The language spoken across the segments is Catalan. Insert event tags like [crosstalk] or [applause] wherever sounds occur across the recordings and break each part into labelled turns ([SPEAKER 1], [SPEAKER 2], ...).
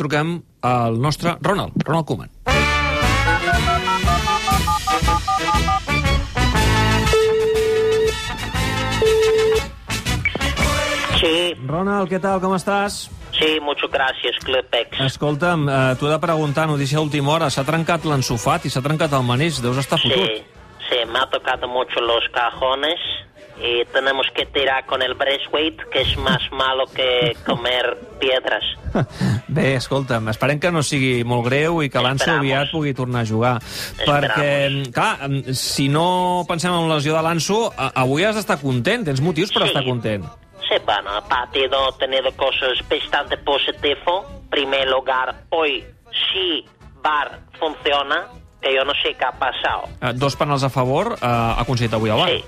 [SPEAKER 1] truquem al nostre Ronald, Ronald Koeman.
[SPEAKER 2] Sí,
[SPEAKER 1] Ronald, què tal, com estàs?
[SPEAKER 2] sí, muchas gracias, Clubex.
[SPEAKER 1] Escolta'm, eh, t'ho he de preguntar, notícia d'última hora, s'ha trencat l'ensofat i s'ha trencat el manís, deus estar
[SPEAKER 2] Sí,
[SPEAKER 1] fotut. [laughs]
[SPEAKER 2] sí, me ha tocado mucho los cajones y tenemos que tirar con el breastweight, que es más malo que comer piedras.
[SPEAKER 1] Bé, escolta'm, esperem que no sigui molt greu i que l'Anso
[SPEAKER 2] Esperamos.
[SPEAKER 1] aviat pugui tornar a jugar.
[SPEAKER 2] Esperamos.
[SPEAKER 1] Perquè, clar, em, si no pensem en la lesió de l'Anso, a- avui has d'estar content, tens motius per
[SPEAKER 2] Sí.
[SPEAKER 1] estar content.
[SPEAKER 2] Sí, bueno, el partido ha tenido cosas bastante positivas. En primer lugar, hoy sí VAR funciona, que yo no sé qué ha pasado.
[SPEAKER 1] Eh, Dos penals a favor eh, ha aconseguit avui el Bar.
[SPEAKER 2] Sí,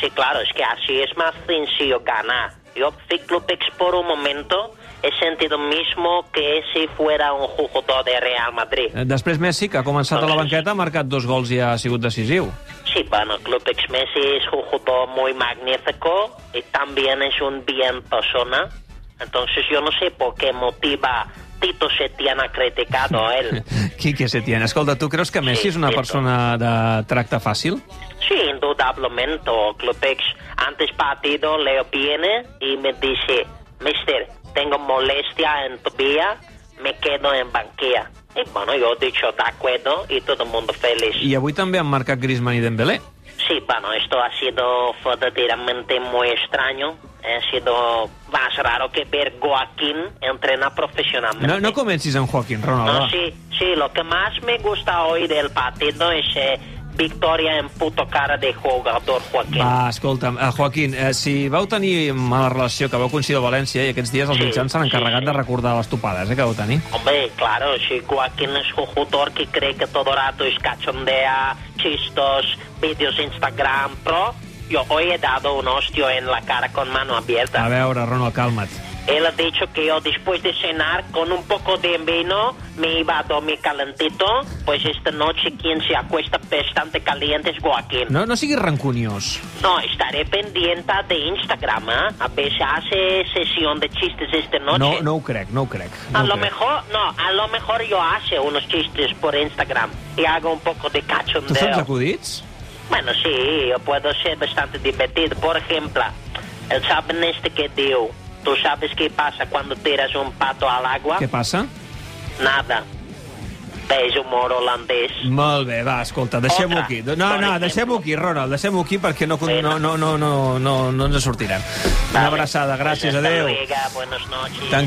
[SPEAKER 2] sí, claro, es que así es más sencillo ganar. Yo, Ciclopex, por un momento he sentido mismo que si fuera un jugador de Real Madrid.
[SPEAKER 1] Eh, Després Messi, que ha començat a la banqueta, ha marcat dos gols i ha sigut decisiu.
[SPEAKER 2] Sí, bueno, Clubex Messi es un jugador muy magnífico y también es un bien persona. Entonces yo no sé por qué motiva Tito Setiana criticado a él.
[SPEAKER 1] Quique Setién, escolta, tu creus que Messi
[SPEAKER 2] Sí,
[SPEAKER 1] és una
[SPEAKER 2] sí,
[SPEAKER 1] persona de tracte fàcil?
[SPEAKER 2] Sí, indudablemente, Clubex. Antes partido Leo viene y me dice, Mister, tengo molestia en tu vía, me quedo en banquilla. Y bueno, yo he dicho, de acuerdo, y todo el mundo feliz.
[SPEAKER 1] I avui també han marcat Griezmann i Dembélé.
[SPEAKER 2] Sí, bueno, esto ha sido verdaderamente muy extraño. Ha sido más raro que ver Joaquín entrenar profesionalmente.
[SPEAKER 1] No, Ah. no comencis en Joaquín, Ronald.
[SPEAKER 2] No,
[SPEAKER 1] va.
[SPEAKER 2] sí, sí, lo que más me gusta hoy del partido es eh, victoria en puto cara de jugador Joaquín.
[SPEAKER 1] Va, escolta'm, eh, Joaquín, eh, si vau tenir mala relació, que vau coincidir a València, i aquests dies els
[SPEAKER 2] Sí,
[SPEAKER 1] mitjans s'han
[SPEAKER 2] sí,
[SPEAKER 1] encarregat
[SPEAKER 2] sí.
[SPEAKER 1] de recordar les topades eh, que vau tenir.
[SPEAKER 2] Hombre, claro, si Joaquín es un jugador que cree que todo rato es cachondea, chistos, vídeos Instagram, pro, yo hoy he dado un hostio en la cara con mano abierta.
[SPEAKER 1] A veure, Ronald, calma't.
[SPEAKER 2] Él ha dicho que yo después de cenar con un poco de vino me iba a dormir calentito, pues esta noche quien se acuesta bastante caliente es Joaquín. No,
[SPEAKER 1] No, no siguis rancuniós.
[SPEAKER 2] estaré pendiente de Instagram, ¿eh? A veces hace sesión de chistes esta noche.
[SPEAKER 1] No, no ho crec, no ho crec. No
[SPEAKER 2] A
[SPEAKER 1] ho
[SPEAKER 2] lo
[SPEAKER 1] crec.
[SPEAKER 2] mejor, no, a lo mejor yo hace unos chistes por Instagram y hago un poco de
[SPEAKER 1] Tu fas
[SPEAKER 2] cachondeo.
[SPEAKER 1] acudits?
[SPEAKER 2] Bueno, sí, yo puedo ser bastante divertido. Por ejemplo, el saben este que dio. ¿Tú sabes qué pasa cuando tiras un pato al agua?
[SPEAKER 1] Què passa?
[SPEAKER 2] Nada. Ves humor holandés.
[SPEAKER 1] Molt bé, va, escolta, deixem-ho
[SPEAKER 2] Otra,
[SPEAKER 1] aquí. No,
[SPEAKER 2] por
[SPEAKER 1] no,
[SPEAKER 2] ejemplo.
[SPEAKER 1] deixem-ho aquí, Ronald, deixem-ho aquí perquè no,
[SPEAKER 2] Bé,
[SPEAKER 1] no, no, no, no, no, no ens en sortirem. Una
[SPEAKER 2] Vale.
[SPEAKER 1] abraçada, gràcies,
[SPEAKER 2] Pues hasta
[SPEAKER 1] adeu.
[SPEAKER 2] luego, buenas noches.
[SPEAKER 1] Tan-